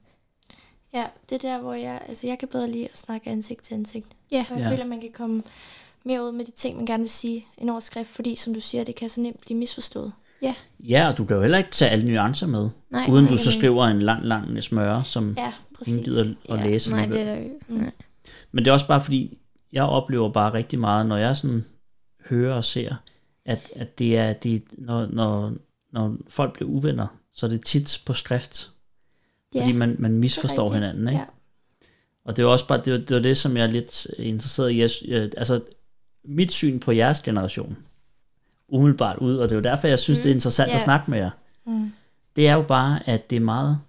Speaker 3: Ja, det er der, hvor jeg, altså jeg kan bedre lide at snakke ansigt til ansigt.
Speaker 2: Ja.
Speaker 3: Og jeg
Speaker 1: Ja.
Speaker 3: føler, at man kan komme mere ud med de ting, man gerne vil sige, end over skrift, fordi som du siger, det kan så nemt blive misforstået.
Speaker 1: Ja, og du kan jo heller ikke tage alle nuancer med,
Speaker 2: nej.
Speaker 1: uden
Speaker 2: det
Speaker 1: du
Speaker 2: kan
Speaker 1: så
Speaker 2: man
Speaker 1: skriver en lang, lang smøre, som
Speaker 3: Ja,
Speaker 1: ingen
Speaker 3: præcis.
Speaker 1: gider at
Speaker 2: ikke.
Speaker 1: læse.
Speaker 2: Nej, det
Speaker 1: alligevel.
Speaker 2: er der jo.
Speaker 3: Mm.
Speaker 2: Nej.
Speaker 1: Men det er også bare fordi, jeg oplever bare rigtig meget, når jeg sådan hører og ser, at, at det er, det, når, når, når folk bliver uvenner, så er det tit på skrift.
Speaker 2: Ja,
Speaker 1: Fordi man, man misforstår
Speaker 3: rigtigt.
Speaker 1: hinanden, ikke?
Speaker 3: Ja.
Speaker 1: Og det er jo også bare, det, var- det var det, som jeg er lidt interesseret i. Jeg, sy- jeg, altså, mit syn på jeres generation, umiddelbart ud, og det er jo derfor, jeg synes, mm.
Speaker 2: Mm,
Speaker 1: det er interessant yeah. at
Speaker 2: ja.
Speaker 1: snakke med jer,
Speaker 3: Mm.
Speaker 1: det er jo bare, at det er meget,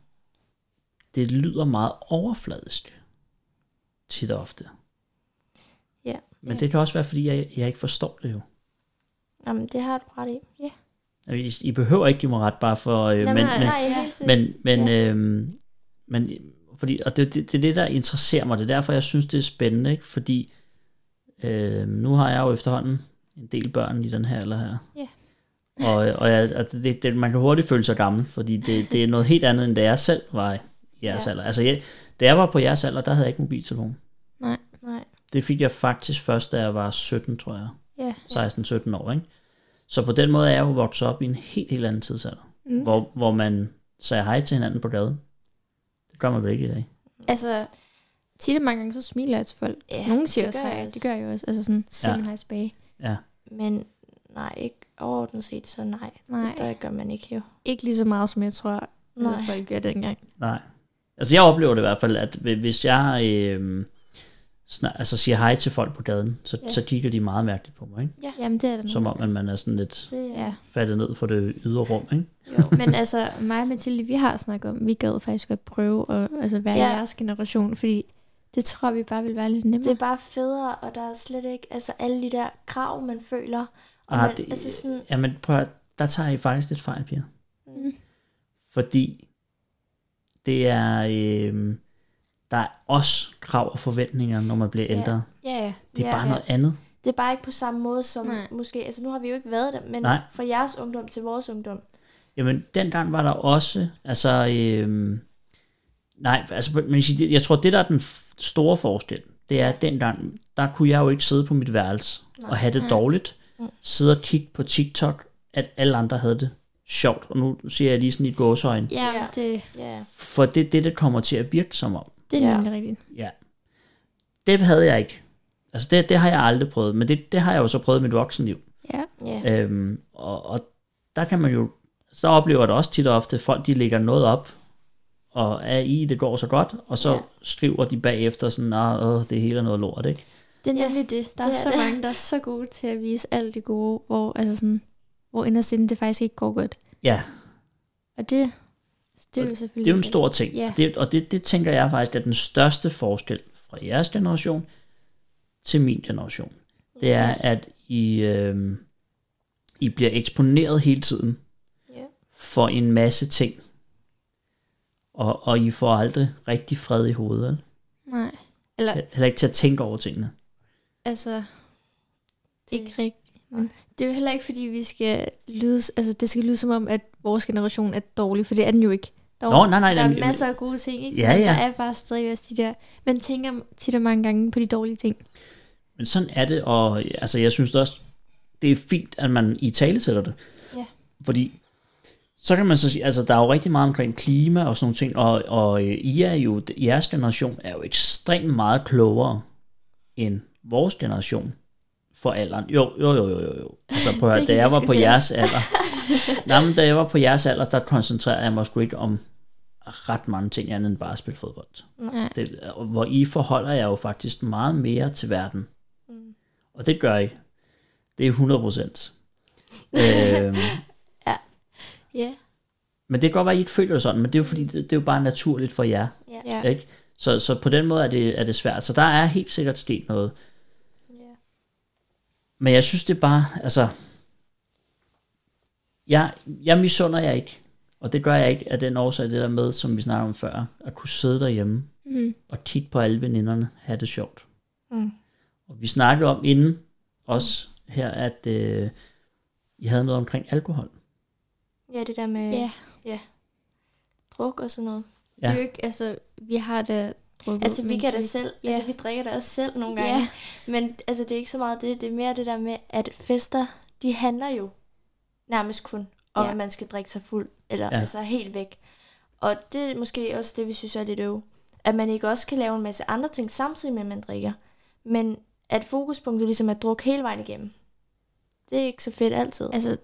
Speaker 1: det lyder meget overfladisk, tit og ofte.
Speaker 3: Ja.
Speaker 1: Men
Speaker 2: Ja.
Speaker 1: det kan også være, fordi jeg, jeg ikke forstår det jo.
Speaker 3: Jamen, det har du ret i. Ja.
Speaker 1: I, Altså, I behøver ikke give mig ret, bare for... Øh,
Speaker 3: Nej,
Speaker 1: men,
Speaker 3: nej,
Speaker 1: men,
Speaker 3: nej,
Speaker 2: men-
Speaker 3: helt men,
Speaker 1: Men, men, ja. øhm, men fordi, og det, det, det er det, der interesserer mig. Det er derfor, jeg synes, det er spændende, ikke? fordi øhm, nu har jeg jo efterhånden en del børn i den her eller her.
Speaker 2: Ja.
Speaker 1: Og, og, jeg, og det, det, man kan hurtigt føle sig gammel, fordi det, det er noget helt andet, end da jeg selv var i jeres ja.
Speaker 3: Ja.
Speaker 1: alder. Altså, jeg, da jeg var på jeres alder, der havde jeg ikke mobiltelefon.
Speaker 3: Nej,
Speaker 1: Det fik jeg faktisk først, da jeg var 17, tror jeg.
Speaker 2: Ja.
Speaker 1: 16-17 år, ikke? Så på den måde er jeg jo vokset op i en helt, helt anden tidsalder
Speaker 2: Mm.
Speaker 1: hvor, hvor man sagde hej til hinanden på gaden. Det gør man vel ikke i dag.
Speaker 2: Altså, tit og mange gange, så smiler jeg til folk.
Speaker 3: Ja,
Speaker 2: Nogle siger
Speaker 3: det
Speaker 2: også
Speaker 3: gør jeg
Speaker 2: hej,
Speaker 3: også.
Speaker 2: det gør jeg også. Altså sådan, så siger
Speaker 1: Ja.
Speaker 2: man hej tilbage.
Speaker 3: men nej, ikke overordnet set, så nej.
Speaker 2: Nej.
Speaker 3: Det, der gør man ikke jo.
Speaker 2: Ikke lige så meget, som jeg tror, altså,
Speaker 3: Nej.
Speaker 2: folk gør dengang.
Speaker 1: Nej. Altså jeg oplever det i hvert fald, at hvi- hvis jeg øh, snak, altså siger hej til folk på gaden, så,
Speaker 3: Ja.
Speaker 1: så kigger de meget mærkeligt på mig. Ikke?
Speaker 2: Jamen, det er det.
Speaker 1: Som om at man er sådan lidt
Speaker 3: Det, øh,
Speaker 2: Ja.
Speaker 1: faldet ned for det ydre rum. Ikke?
Speaker 3: Jo.
Speaker 2: Men altså, mig og Mathilde, vi har snakket om, vi gad faktisk godt prøve at altså, være ja.
Speaker 3: Ja.
Speaker 2: jeres generation, fordi det tror vi bare vil være lidt nemmere.
Speaker 3: Det er bare federe, og der er slet ikke altså alle de der krav, man føler. Og
Speaker 1: Ah,
Speaker 3: man,
Speaker 1: det-
Speaker 3: altså sådan,
Speaker 1: Jamen prøv at, der tager I faktisk lidt fejl, Pia.
Speaker 2: Mm.
Speaker 1: Fordi det er, øh, der er også krav og forventninger, når man bliver
Speaker 3: Ja.
Speaker 1: ældre.
Speaker 2: Ja, ja.
Speaker 1: Det er
Speaker 3: Ja,
Speaker 1: bare
Speaker 3: ja.
Speaker 1: noget andet.
Speaker 3: det er bare ikke på samme måde som
Speaker 2: Nej.
Speaker 3: nej. måske, altså nu har vi jo ikke været der, men
Speaker 1: Nej.
Speaker 3: fra jeres ungdom til vores ungdom.
Speaker 1: Jamen, dengang var der også, altså, øhm, nej, altså, men jeg siger, det- jeg tror, det der er den f- store forskel, det er, at dengang, der kunne jeg jo ikke sidde på mit værelse og have det
Speaker 2: Nej.
Speaker 1: dårligt,
Speaker 3: Mm.
Speaker 1: sidde og kigge på TikTok, at alle andre havde det sjovt, og nu siger jeg lige sådan i gåsøjne,
Speaker 2: Ja,
Speaker 3: Ja.
Speaker 2: det,
Speaker 3: Ja,
Speaker 1: for det er det, det kommer til at virke som om.
Speaker 2: det er
Speaker 3: Ja.
Speaker 2: nemlig rigtigt.
Speaker 1: Ja. Det havde jeg ikke. Altså, det, det har jeg aldrig prøvet, men det, det har jeg jo så prøvet i mit voksenliv.
Speaker 2: Ja.
Speaker 3: ja.
Speaker 1: Øhm, og, og der kan man jo, så oplever jeg det også tit og ofte, folk de lægger noget op, og er i, det går så godt, og så ja.
Speaker 3: Ja.
Speaker 1: skriver de bagefter sådan, "Nå, åh, det hele er noget lort, ikke?
Speaker 2: Det er
Speaker 3: Ja,
Speaker 2: nemlig det. Der er
Speaker 3: det er
Speaker 2: så
Speaker 3: det.
Speaker 2: mange, der er så gode til at vise alt det gode, hvor, altså sådan, hvor inderst inden det faktisk ikke går godt.
Speaker 1: Ja,
Speaker 2: Og det, det er jo
Speaker 1: det
Speaker 2: selvfølgelig...
Speaker 1: er jo en stor ting,
Speaker 2: Ja.
Speaker 1: og, det, og det, det tænker jeg faktisk er den største forskel fra jeres generation til min generation. Det er, at I, øh, I bliver eksponeret hele tiden
Speaker 3: ja.
Speaker 1: for en masse ting, og, og I får aldrig rigtig fred i hovedet. vel?
Speaker 2: Nej. Eller, ja.
Speaker 1: Heller ikke til at tænke over tingene.
Speaker 2: altså,
Speaker 3: Det-
Speaker 2: ikke rigtigt. Men det er jo heller ikke, fordi vi skal lyde... Altså, det skal lyde som om, at vores generation er dårlig, for det er den jo ikke. Der er jo
Speaker 1: Nå, nej, nej.
Speaker 2: der
Speaker 1: jamen,
Speaker 2: er masser af gode ting, ikke?
Speaker 1: Ja,
Speaker 2: Men
Speaker 1: ja.
Speaker 2: der er bare stadig også de der... Man tænker tit og mange gange på de dårlige ting.
Speaker 1: Men sådan er det, og altså, jeg synes det også, det er fint, at man i tale sætter det.
Speaker 2: Ja.
Speaker 1: Fordi så kan man så sige, altså der er jo rigtig meget omkring klima og sådan nogle ting, og, og øh, I er jo, jeres generation er jo ekstremt meget klogere end vores generation for alderen. Jo, jo, jo, jo, jo. jo. Altså prøv at høre,
Speaker 2: Det
Speaker 1: da
Speaker 2: kan
Speaker 1: jeg var på
Speaker 2: diskuteres.
Speaker 1: jeres alder, nej, men da jeg var på jeres alder, der koncentrerede jeg mig sgu ikke om ret mange ting andet end bare at spille fodbold.
Speaker 2: Ja.
Speaker 1: Det, og hvor I forholder jeg jo faktisk meget mere til verden.
Speaker 3: Mm.
Speaker 1: Og det gør I. Det er 100 procent. øhm,
Speaker 2: Ja.
Speaker 1: men det kan godt være, at I ikke føler det sådan, men det er jo, fordi, det, det er jo bare naturligt for jer.
Speaker 3: Ja.
Speaker 2: Ja.
Speaker 1: Ikke? Så, så på den måde er det, er det svært. Så der er helt sikkert sket noget.
Speaker 3: ja.
Speaker 1: Men jeg synes, det er bare, altså... Jeg, jeg misunder jer ikke. Og det gør jeg ikke af den årsag, det der med, som vi snakkede om før, at kunne sidde derhjemme
Speaker 2: Mm.
Speaker 1: og kigge på alle veninderne, have det sjovt.
Speaker 3: Mm.
Speaker 1: Og vi snakkede om inden også her, at øh, I havde noget omkring alkohol.
Speaker 3: ja, det der med
Speaker 2: ja.
Speaker 3: ja. druk og sådan noget.
Speaker 2: Det er jo ikke... Altså, vi har da drukket...
Speaker 3: Altså, vi
Speaker 2: men
Speaker 3: kan da
Speaker 2: det-
Speaker 3: selv,
Speaker 2: Ja.
Speaker 3: ja. altså, vi drikker da også selv nogle gange.
Speaker 2: Ja.
Speaker 3: Ja. Men altså, det er ikke så meget det, det er mere det der med, at fester, de handler jo nærmest kun om,
Speaker 2: Ja.
Speaker 3: ja. at man skal drikke sig fuld, eller
Speaker 1: Ja.
Speaker 3: ja. altså helt væk. Og det er måske også det, vi synes er lidt øv. At man ikke også kan lave en masse andre ting samtidig med, at man drikker. Men at fokuspunktet ligesom er druk hele vejen igennem. Det er ikke så fedt altid.
Speaker 2: Altså,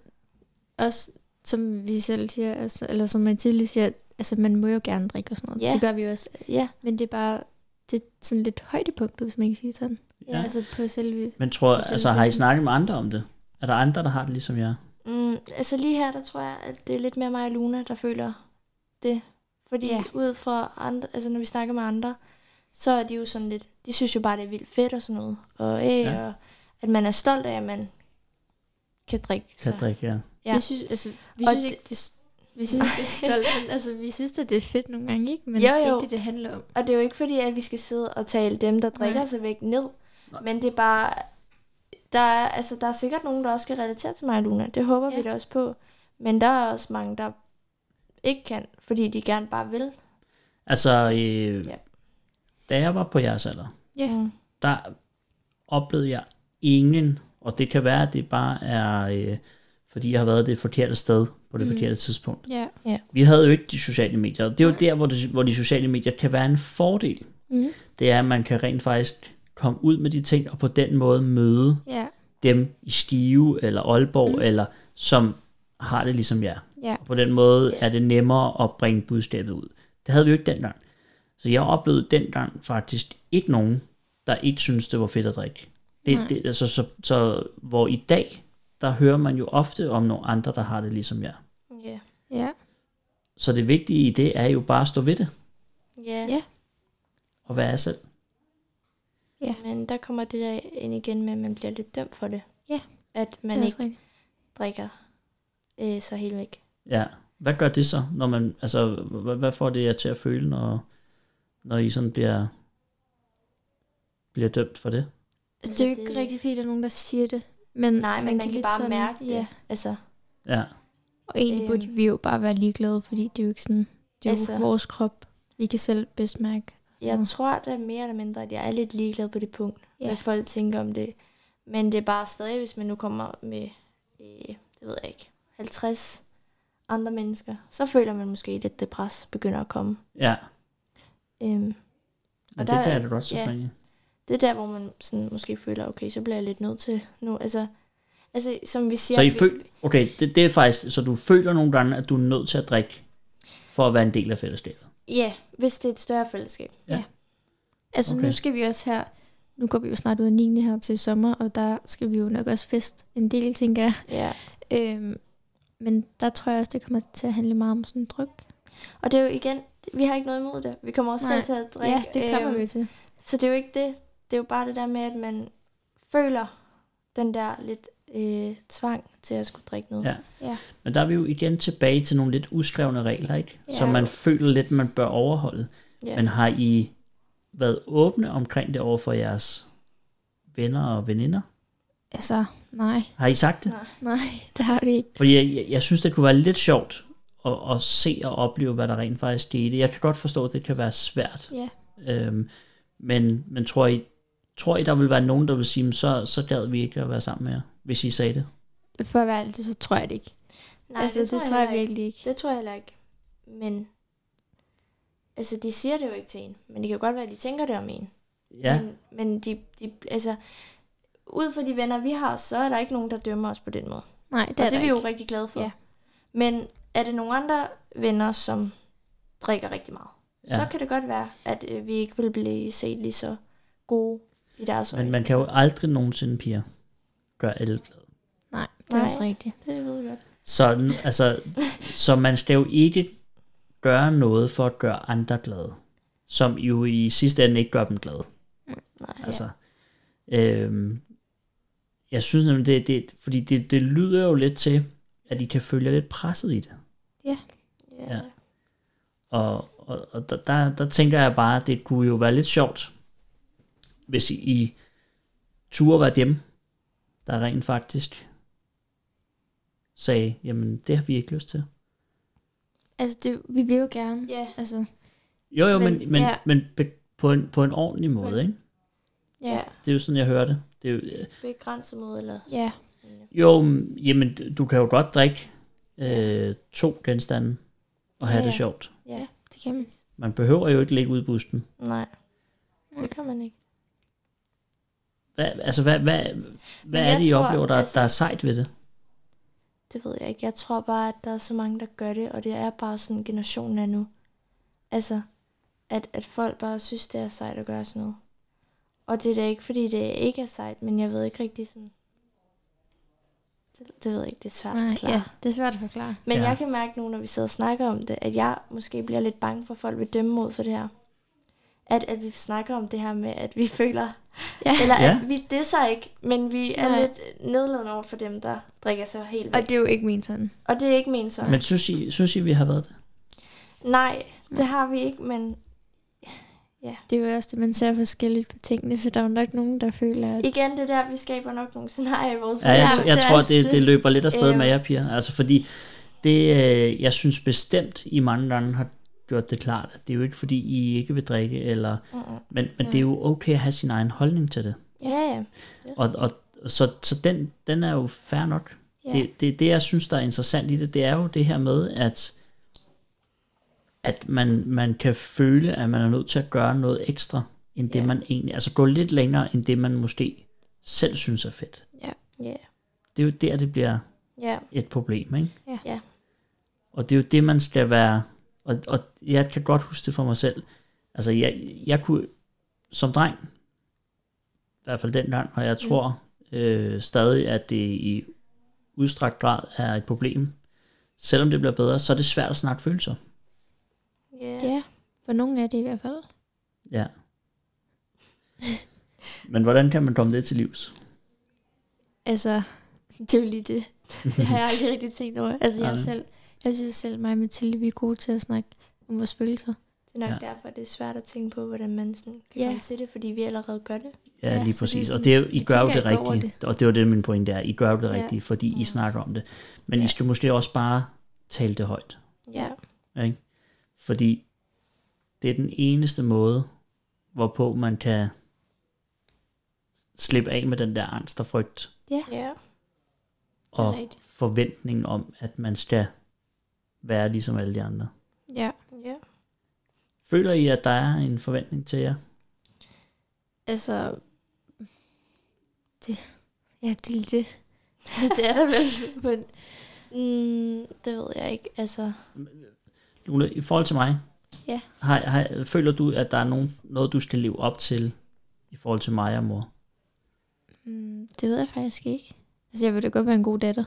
Speaker 2: også som vi selv siger, altså, eller som Mathilde siger, altså, man må jo gerne drikke og sådan noget.
Speaker 3: Ja.
Speaker 2: Det gør vi jo også.
Speaker 3: Ja,
Speaker 2: Men det er bare... Det er sådan lidt højdepunktet, hvis man kan sige det sådan.
Speaker 1: Ja.
Speaker 2: Ja. Altså, på selve...
Speaker 1: Men tror,
Speaker 2: Så selv
Speaker 1: altså, har I
Speaker 2: festen.
Speaker 1: snakket med andre om det? Er der andre, der har det ligesom jer?
Speaker 3: Mm, altså lige her, der tror jeg, at det er lidt mere mig og Luna, der føler det. Fordi
Speaker 2: Ja.
Speaker 3: ja. ud fra andre, altså når vi snakker med andre, så er de jo sådan lidt, de synes jo bare, det er vildt fedt og sådan noget. Og, øh,
Speaker 1: Ja.
Speaker 3: ja. og at man er stolt af, at man kan drikke.
Speaker 1: Kan
Speaker 3: så.
Speaker 1: drikke, ja.
Speaker 3: Ja.
Speaker 2: Ja. Det synes, altså, vi
Speaker 3: Og
Speaker 2: synes ikke, det, vi synes, ikke, det er stolt, men altså, vi synes, at det er fedt nogle gange, ikke? Men
Speaker 3: Jo,
Speaker 2: det er
Speaker 3: jo.
Speaker 2: ikke det, det handler om.
Speaker 3: Og det er jo ikke fordi, at vi skal sidde og tale dem, der drikker
Speaker 2: Nej.
Speaker 3: sig væk ned.
Speaker 1: Nej.
Speaker 3: Men det er bare... Der er, altså, der er sikkert nogen, der også kan relatere til mig og Luna. Det håber ja.
Speaker 2: Ja.
Speaker 3: vi da også på. Men der er også mange, der ikke kan, fordi de gerne bare vil.
Speaker 1: Altså, øh,
Speaker 3: Ja.
Speaker 1: da jeg var på jeres alder,
Speaker 2: Ja.
Speaker 3: Mm.
Speaker 1: der oplevede jeg ingen, og det kan være, at det bare er, øh, fordi jeg har været det forkerte sted på det mm.
Speaker 2: Mm.
Speaker 1: forkerte tidspunkt.
Speaker 2: Ja.
Speaker 1: Vi havde jo ikke de sociale medier, og det er jo der, hvor, det, hvor de sociale medier kan være en fordel.
Speaker 2: Mm.
Speaker 1: Det er, at man kan rent faktisk komme ud med de ting, og på den måde møde
Speaker 2: Ja.
Speaker 1: dem i Skive eller Aalborg, mm.
Speaker 2: Mm.
Speaker 1: eller som har det ligesom jer.
Speaker 2: Ja.
Speaker 1: Og på den måde er det nemmere at bringe budskabet ud. Det havde vi jo ikke dengang. Så jeg oplevede dengang faktisk ikke nogen, der ikke syntes, det var fedt at drikke. Det,
Speaker 2: Nej.
Speaker 1: det, altså, så, så, hvor i dag, der hører man jo ofte om nogle andre, der har det ligesom jeg.
Speaker 3: Yeah.
Speaker 2: Ja.
Speaker 1: Så det vigtige i det er jo bare at stå ved det
Speaker 3: Yeah.
Speaker 2: Ja.
Speaker 1: og være selv.
Speaker 2: Ja.
Speaker 3: Men der kommer det der ind igen med, at man bliver lidt dømt for det.
Speaker 2: Ja.
Speaker 3: At
Speaker 2: Det
Speaker 3: man
Speaker 2: er
Speaker 3: ikke
Speaker 2: også rigtigt.
Speaker 3: drikker øh, sig helt væk.
Speaker 1: Ja. Hvad gør det så, når man, altså, hvad, hvad får det jer til at føle, når, når I sådan bliver, bliver dømt for det?
Speaker 2: Altså, det
Speaker 3: Altså,
Speaker 2: er jo ikke
Speaker 3: det-
Speaker 2: rigtig, fordi der er nogen, der siger det. Men
Speaker 3: Nej, men man, man kan
Speaker 2: lidt
Speaker 3: bare
Speaker 2: sådan,
Speaker 3: mærke det.
Speaker 2: Ja.
Speaker 3: Altså,
Speaker 1: Ja.
Speaker 2: Og egentlig
Speaker 3: Øhm.
Speaker 2: burde vi jo bare være ligeglade, fordi det er jo ikke sådan, det er jo
Speaker 3: Altså.
Speaker 2: vores krop. Vi kan selv bedst mærke.
Speaker 3: jeg
Speaker 2: Mm.
Speaker 3: tror da mere eller mindre, at jeg er lidt ligeglad på det punkt,
Speaker 2: Ja.
Speaker 3: yeah. hvad folk tænker om det. Men det er bare stadig, hvis man nu kommer med, øh, det ved jeg ikke, 50 andre mennesker, så føler man måske lidt, det pres begynder at komme.
Speaker 1: Ja.
Speaker 3: Øhm,
Speaker 1: Men det
Speaker 3: der
Speaker 1: kan
Speaker 3: er-
Speaker 1: jeg da godt se,
Speaker 3: ja.
Speaker 1: Maria.
Speaker 3: det er der, hvor man sådan måske føler, okay, så bliver jeg lidt nødt til nu. Altså, altså som vi siger...
Speaker 1: Så I
Speaker 3: vi-
Speaker 1: føl- okay, det, det er faktisk, så du føler nogle gange, at du er nødt til at drikke, for at være en del af fællesskabet.
Speaker 3: Ja, hvis det er et større fællesskab.
Speaker 2: Altså okay.
Speaker 1: Okay.
Speaker 2: nu skal vi også her, nu går vi jo snart ud af 9. her til sommer, og der skal vi jo nok også fest en del, tænker jeg.
Speaker 3: Ja.
Speaker 2: Øhm, men der tror jeg også, det kommer til at handle meget om sådan en dryk.
Speaker 3: Og det er jo igen, vi har ikke noget imod det. Vi kommer også
Speaker 2: Nej.
Speaker 3: Nej. selv til at drikke.
Speaker 2: ja, det kommer
Speaker 3: øhm.
Speaker 2: vi til.
Speaker 3: Så det er jo ikke det. Det er jo bare det der med, at man føler den der lidt øh, tvang til at skulle drikke noget.
Speaker 1: Ja.
Speaker 2: Ja.
Speaker 1: Men der er vi jo igen tilbage til nogle lidt uskrevne regler, ikke? Ja. Som
Speaker 2: Ja.
Speaker 1: man føler lidt, man bør overholde. Ja.
Speaker 3: Ja.
Speaker 1: Men har I været åbne omkring det over for jeres venner og veninder?
Speaker 2: Altså, nej,
Speaker 1: Har I sagt det?
Speaker 3: Nej.
Speaker 2: nej, det har vi ikke.
Speaker 1: Fordi jeg, jeg, jeg synes, det kunne være lidt sjovt at, at se og opleve, hvad der rent faktisk skete. Jeg kan godt forstå, at det kan være svært.
Speaker 2: Ja.
Speaker 1: Øhm, men men tror, I, tror I, der vil være nogen, der vil sige, "Men så, så gad vi ikke at være sammen med jer, hvis I sagde det?
Speaker 2: For at være ærlig, så tror jeg det ikke.
Speaker 3: Nej,
Speaker 2: altså, det, tror jeg,
Speaker 3: heller ikke.
Speaker 2: virkelig ikke.
Speaker 3: Det tror jeg heller ikke. Men, altså de siger det jo ikke til en, men det kan jo godt være, at de tænker det om en.
Speaker 1: Ja,
Speaker 3: Men, men de, de, altså, ud fra de venner, vi har, så er der ikke nogen, der dømmer os på den måde.
Speaker 2: Nej, det
Speaker 3: Det
Speaker 2: er,
Speaker 3: og det er vi jo
Speaker 2: ikke.
Speaker 3: rigtig glade for.
Speaker 2: Ja.
Speaker 3: Men er det nogle andre venner, som drikker rigtig meget,
Speaker 1: Ja.
Speaker 3: ja. så kan det godt være, at øh, vi ikke vil blive set lige så gode i deres øjne.
Speaker 1: men man kan jo aldrig nogensinde, piger, gøre alle glade.
Speaker 2: Nej, det er
Speaker 3: Nej.
Speaker 2: også rigtigt.
Speaker 3: Det ved jeg godt.
Speaker 1: Så, n- altså, så man skal jo ikke gøre noget for at gøre andre glade, som jo i sidste ende ikke gør dem glade.
Speaker 3: Nej. Altså,
Speaker 1: Altså, øhm, jeg synes nemlig, det, det, fordi det, det lyder jo lidt til, at I kan følge jer lidt presset i det.
Speaker 3: ja.
Speaker 1: ja.
Speaker 3: Ja.
Speaker 1: Og, og, og der, der, der tænker jeg bare, at det kunne jo være lidt sjovt, hvis I, I turde være dem, der rent faktisk sagde, jamen det har vi ikke lyst til.
Speaker 2: Altså, det, vi vil jo gerne.
Speaker 3: Ja.
Speaker 2: Altså,
Speaker 1: Jo jo, men, men,
Speaker 3: Men-
Speaker 1: men,
Speaker 3: ja.
Speaker 1: men be- på, en, på en ordentlig måde, ikke?
Speaker 3: ja.
Speaker 1: Det er jo sådan, jeg hører det. det er jo, øh,
Speaker 3: Begrænset mod, eller...
Speaker 2: ja,
Speaker 1: Jo, mm, jamen, du- du kan jo godt drikke øh, to genstande og have
Speaker 3: Ja,
Speaker 1: det
Speaker 3: ja.
Speaker 1: sjovt.
Speaker 3: Ja.
Speaker 2: det kan man.
Speaker 1: Man behøver jo ikke ligge ude i bussen.
Speaker 3: Nej.
Speaker 2: Nej.
Speaker 3: Det kan man ikke.
Speaker 1: Hvad, altså, hvad, hvad, hvad
Speaker 3: jeg
Speaker 1: er det, I
Speaker 3: tror,
Speaker 1: oplever, der,
Speaker 3: altså-
Speaker 1: der er sejt ved det?
Speaker 3: Det ved jeg ikke. Jeg tror bare, at der er så mange, der gør det, og det er bare sådan, generationen er nu. Altså, at, at folk bare synes, det er sejt at gøre sådan noget. Og det er da ikke, fordi det ikke er sejt, men jeg ved ikke rigtig sådan... Det, det ved jeg ikke, det er svært
Speaker 2: Nej,
Speaker 3: at forklare.
Speaker 2: ja, det er svært at forklare.
Speaker 3: Men
Speaker 1: Ja.
Speaker 3: ja. jeg kan mærke nu, når vi sidder og snakker om det, at jeg måske bliver lidt bange for, at folk vil dømme mod for det her. at, at vi snakker om det her med, at vi føler,
Speaker 2: Ja.
Speaker 3: eller
Speaker 1: Ja.
Speaker 3: at vi disser ikke, men vi er
Speaker 2: Nej.
Speaker 3: lidt nedladende over for dem, der drikker sig helt
Speaker 2: Og
Speaker 3: væk.
Speaker 2: det er jo ikke min sådan.
Speaker 3: Og det er ikke ment sådan.
Speaker 1: Men synes I, synes I, vi har været det?
Speaker 3: Nej,
Speaker 2: Mm.
Speaker 3: det har vi ikke, men
Speaker 2: Det er jo også det, man ser forskelligt på tingene, så der er jo nok nogen, der føler, at
Speaker 3: igen det der, vi skaber nok nogle scenarier i vores
Speaker 1: Ja, jeg,
Speaker 3: hoved.
Speaker 1: jeg
Speaker 3: er
Speaker 1: tror,
Speaker 3: også
Speaker 1: det, det løber lidt afsted
Speaker 3: Øhm.
Speaker 1: med jer, piger. Altså, fordi det, øh, jeg synes bestemt, I mange lande har gjort det klart, at det er jo ikke, fordi I ikke vil drikke, eller,
Speaker 3: Mm-mm.
Speaker 1: men, men det er jo okay at have sin egen holdning til det.
Speaker 3: Ja, ja.
Speaker 1: Og, og, så så den, den er jo fair nok.
Speaker 3: Ja.
Speaker 1: Det, det, det, jeg synes, der er interessant i det, det er jo det her med, at at man, man kan føle, at man er nødt til at gøre noget ekstra, end det
Speaker 3: Ja.
Speaker 1: man egentlig, altså gå lidt længere, end det man måske selv synes er fedt.
Speaker 3: Ja,
Speaker 1: Det er jo der, det bliver
Speaker 3: ja.
Speaker 1: et problem, ikke?
Speaker 2: Ja.
Speaker 3: Ja.
Speaker 1: Og det er jo det, man skal være... Og, og jeg kan godt huske det for mig selv. Altså, jeg, jeg kunne som dreng, i hvert fald dengang, og
Speaker 2: Mm.
Speaker 1: jeg tror øh, stadig, at det i udstrakt grad er et problem. Selvom det bliver bedre, så er det svært at snakke følelser.
Speaker 3: ja.
Speaker 2: ja, for nogen er det i hvert fald.
Speaker 1: Ja. Men hvordan kan man komme det til livs?
Speaker 2: Altså, det er jo lige det. Det har jeg aldrig rigtig tænkt over. Altså, jeg
Speaker 1: Nej.
Speaker 2: selv, jeg synes selv, mig og Mathilde, vi er gode til at snakke om vores følelser.
Speaker 3: Det er nok
Speaker 1: Ja.
Speaker 3: derfor, det er svært at tænke på, hvordan man sådan kan
Speaker 2: Ja.
Speaker 3: komme til det, fordi vi allerede gør det.
Speaker 1: Ja,
Speaker 2: Ja,
Speaker 1: ja lige
Speaker 2: så det er
Speaker 1: præcis.
Speaker 2: sådan-
Speaker 1: og det er, jo- I
Speaker 2: jeg
Speaker 1: gør jo
Speaker 2: tænker
Speaker 1: det
Speaker 2: ikke over
Speaker 1: rigtige. Og det var det, min pointe er. I gør jo det
Speaker 2: Ja.
Speaker 1: rigtige, fordi I
Speaker 3: Mm.
Speaker 1: snakker om det. Men
Speaker 3: Ja.
Speaker 1: I skal måske også bare tale det højt.
Speaker 3: Ja.
Speaker 1: Fordi det er den eneste måde, hvorpå man kan slippe af med den der angst og frygt
Speaker 3: Ja.
Speaker 1: og
Speaker 2: rigtigt.
Speaker 1: forventningen om, at man skal være ligesom alle de andre.
Speaker 2: Ja,
Speaker 3: Ja.
Speaker 1: Føler I, at der er en forventning til jer?
Speaker 2: altså... Det, ja, det er lige det. Altså, det er der vel, men...
Speaker 3: Mm, det ved jeg ikke. Altså,
Speaker 1: Lune, i forhold til mig,
Speaker 2: Ja.
Speaker 1: har, har, føler du, at der er nogen, noget, du skal leve op til i forhold til mig og mor?
Speaker 2: Mm, det ved jeg faktisk ikke. Altså, jeg vil da godt være en god datter.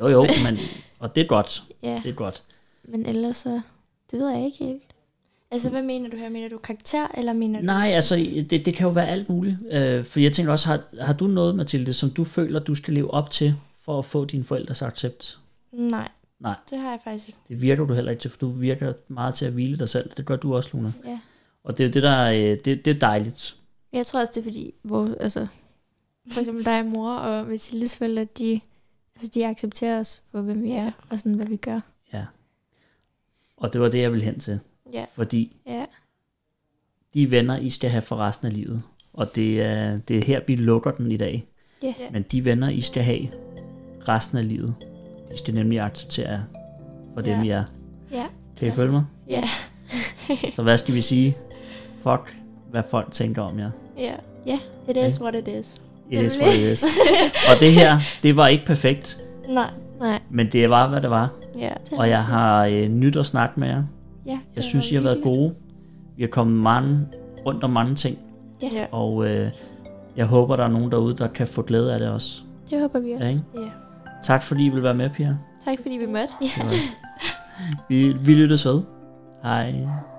Speaker 1: Jo, jo, men, og det er godt.
Speaker 2: Ja,
Speaker 1: Det er godt.
Speaker 2: men ellers så... Det ved jeg ikke helt.
Speaker 3: altså hvad mener du her? Mener du karakter, eller mener du...
Speaker 1: Nej, altså, det, det kan jo være alt muligt. Øh, for jeg tænker også, har, har du noget, Mathilde, som du føler, du skal leve op til, for at få dine forældres accept?
Speaker 3: Nej.
Speaker 1: Nej.
Speaker 3: Det har jeg faktisk ikke.
Speaker 1: Det virker du heller ikke til, for du virker meget til at hvile dig selv. Det gør du også, Luna.
Speaker 2: Ja.
Speaker 1: Og det er jo det, der er, øh, det, det er dejligt.
Speaker 2: Jeg tror også, det er fordi, hvor, altså, for eksempel dig og mor og Mathildes forældre, de, altså, de accepterer os for, hvem vi er, og sådan, hvad vi gør.
Speaker 1: Ja. Og det var det, jeg ville hen til.
Speaker 3: Ja.
Speaker 1: Fordi
Speaker 2: Ja.
Speaker 1: de venner, I skal have for resten af livet, og det er, det er her, vi lukker den i dag.
Speaker 2: Ja.
Speaker 3: Ja.
Speaker 1: Men de venner, I skal have resten af livet, de skal nemlig acceptere jer for dem,
Speaker 3: Ja.
Speaker 1: I er.
Speaker 2: Ja.
Speaker 1: Kan I følge mig?
Speaker 3: Ja.
Speaker 1: Så hvad skal vi sige? Fuck, hvad folk tænker om jer.
Speaker 3: Ja.
Speaker 2: Ja.
Speaker 3: It is what it is.
Speaker 1: It is what it is. Og det her, det var ikke perfekt,
Speaker 3: Nej.
Speaker 2: Nej.
Speaker 1: men det var, hvad det var.
Speaker 3: Ja.
Speaker 1: Og jeg har øh, nyt at snakke med jer.
Speaker 2: Ja,
Speaker 1: Jeg synes, I har været gode. Vi har kommet mange, rundt om mange ting,
Speaker 2: Ja.
Speaker 3: Ja.
Speaker 1: og øh, jeg håber, der er nogen derude, der kan få glæde af det også.
Speaker 2: Det håber vi
Speaker 1: Ja,
Speaker 2: også.
Speaker 1: ikke?
Speaker 3: Ja.
Speaker 1: Tak fordi I vil være med, Pia.
Speaker 2: Tak fordi vi mødte.
Speaker 1: Det var- Vi, vi lyttes ved. Hej.